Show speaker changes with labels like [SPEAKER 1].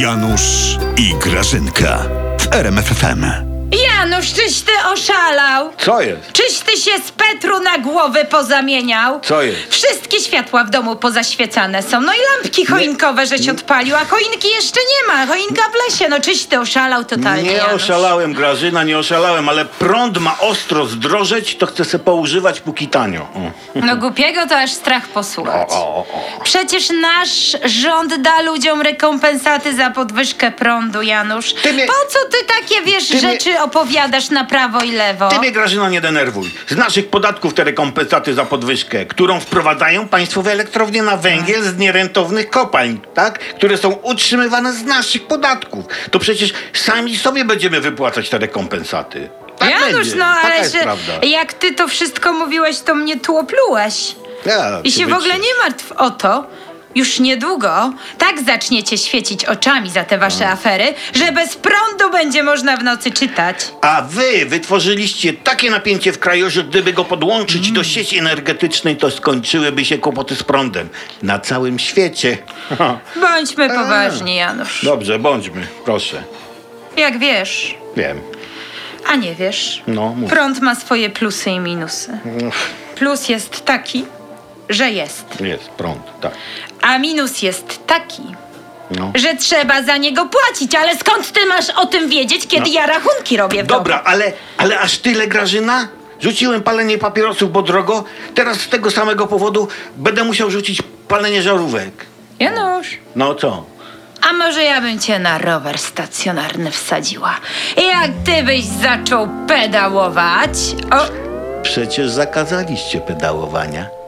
[SPEAKER 1] Janusz i Grażynka w RMFFM.
[SPEAKER 2] Janusz, czyś ty oszalał?
[SPEAKER 3] Co jest?
[SPEAKER 2] Czyś ty się z Petru na głowę pozamieniał?
[SPEAKER 3] Co jest?
[SPEAKER 2] Wszystkie światła w domu pozaświecane są. No i lampki choinkowe żeś odpalił, a choinki jeszcze nie ma. Choinka w lesie. No czyś ty oszalał totalnie,
[SPEAKER 3] Nie
[SPEAKER 2] Janusz.
[SPEAKER 3] oszalałem, Grażyna, nie oszalałem, ale prąd ma ostro zdrożeć, to chcę se poużywać póki tanio. O.
[SPEAKER 2] No głupiego to aż strach posłuchać.
[SPEAKER 3] O, o, o,
[SPEAKER 2] Przecież nasz rząd da ludziom rekompensaty za podwyżkę prądu, Janusz.
[SPEAKER 3] Ty mnie-
[SPEAKER 2] Po co ty takie, wiesz,
[SPEAKER 3] mnie-
[SPEAKER 2] rzeczy opowiadasz na prawo i lewo?
[SPEAKER 3] Ty mnie, Grażyna, nie denerwuj. Z naszych podatków te rekompensaty za podwyżkę, którą wprowadzają państwowe elektrownie na węgiel z nierentownych kopalń, tak? Które są utrzymywane z naszych podatków. To przecież sami sobie będziemy wypłacać te rekompensaty. Tak
[SPEAKER 2] Janusz,
[SPEAKER 3] będzie.
[SPEAKER 2] no
[SPEAKER 3] Taka
[SPEAKER 2] ale
[SPEAKER 3] jest
[SPEAKER 2] się,
[SPEAKER 3] prawda.
[SPEAKER 2] jak ty to wszystko mówiłeś, to mnie tłoplułeś.
[SPEAKER 3] Ja,
[SPEAKER 2] I się w
[SPEAKER 3] wiecie.
[SPEAKER 2] ogóle nie martw o to. Już niedługo tak zaczniecie świecić oczami za te wasze
[SPEAKER 3] Mm.
[SPEAKER 2] afery, że bez prądu będzie można w nocy czytać.
[SPEAKER 3] A wy wytworzyliście takie napięcie w kraju, że gdyby go podłączyć do sieci energetycznej, to skończyłyby się kłopoty z prądem. Na całym świecie.
[SPEAKER 2] Bądźmy
[SPEAKER 3] E.
[SPEAKER 2] poważni, Janusz.
[SPEAKER 3] Dobrze, bądźmy, proszę.
[SPEAKER 2] Jak wiesz,
[SPEAKER 3] Wiem.
[SPEAKER 2] a nie wiesz,
[SPEAKER 3] No, mów.
[SPEAKER 2] prąd ma swoje plusy i minusy. Plus jest taki, że jest,
[SPEAKER 3] Jest prąd, tak.
[SPEAKER 2] a minus jest taki,
[SPEAKER 3] No.
[SPEAKER 2] że trzeba za niego płacić, ale skąd ty masz o tym wiedzieć, kiedy ja rachunki robię w domu?
[SPEAKER 3] Dobra, ale, ale aż tyle grażyna? Rzuciłem palenie papierosów, bo drogo. Teraz z tego samego powodu będę musiał rzucić palenie żarówek.
[SPEAKER 2] Janusz,
[SPEAKER 3] No co?
[SPEAKER 2] a może ja bym cię na rower stacjonarny wsadziła? Jak ty byś zaczął pedałować? O,
[SPEAKER 3] Przecież zakazaliście pedałowania.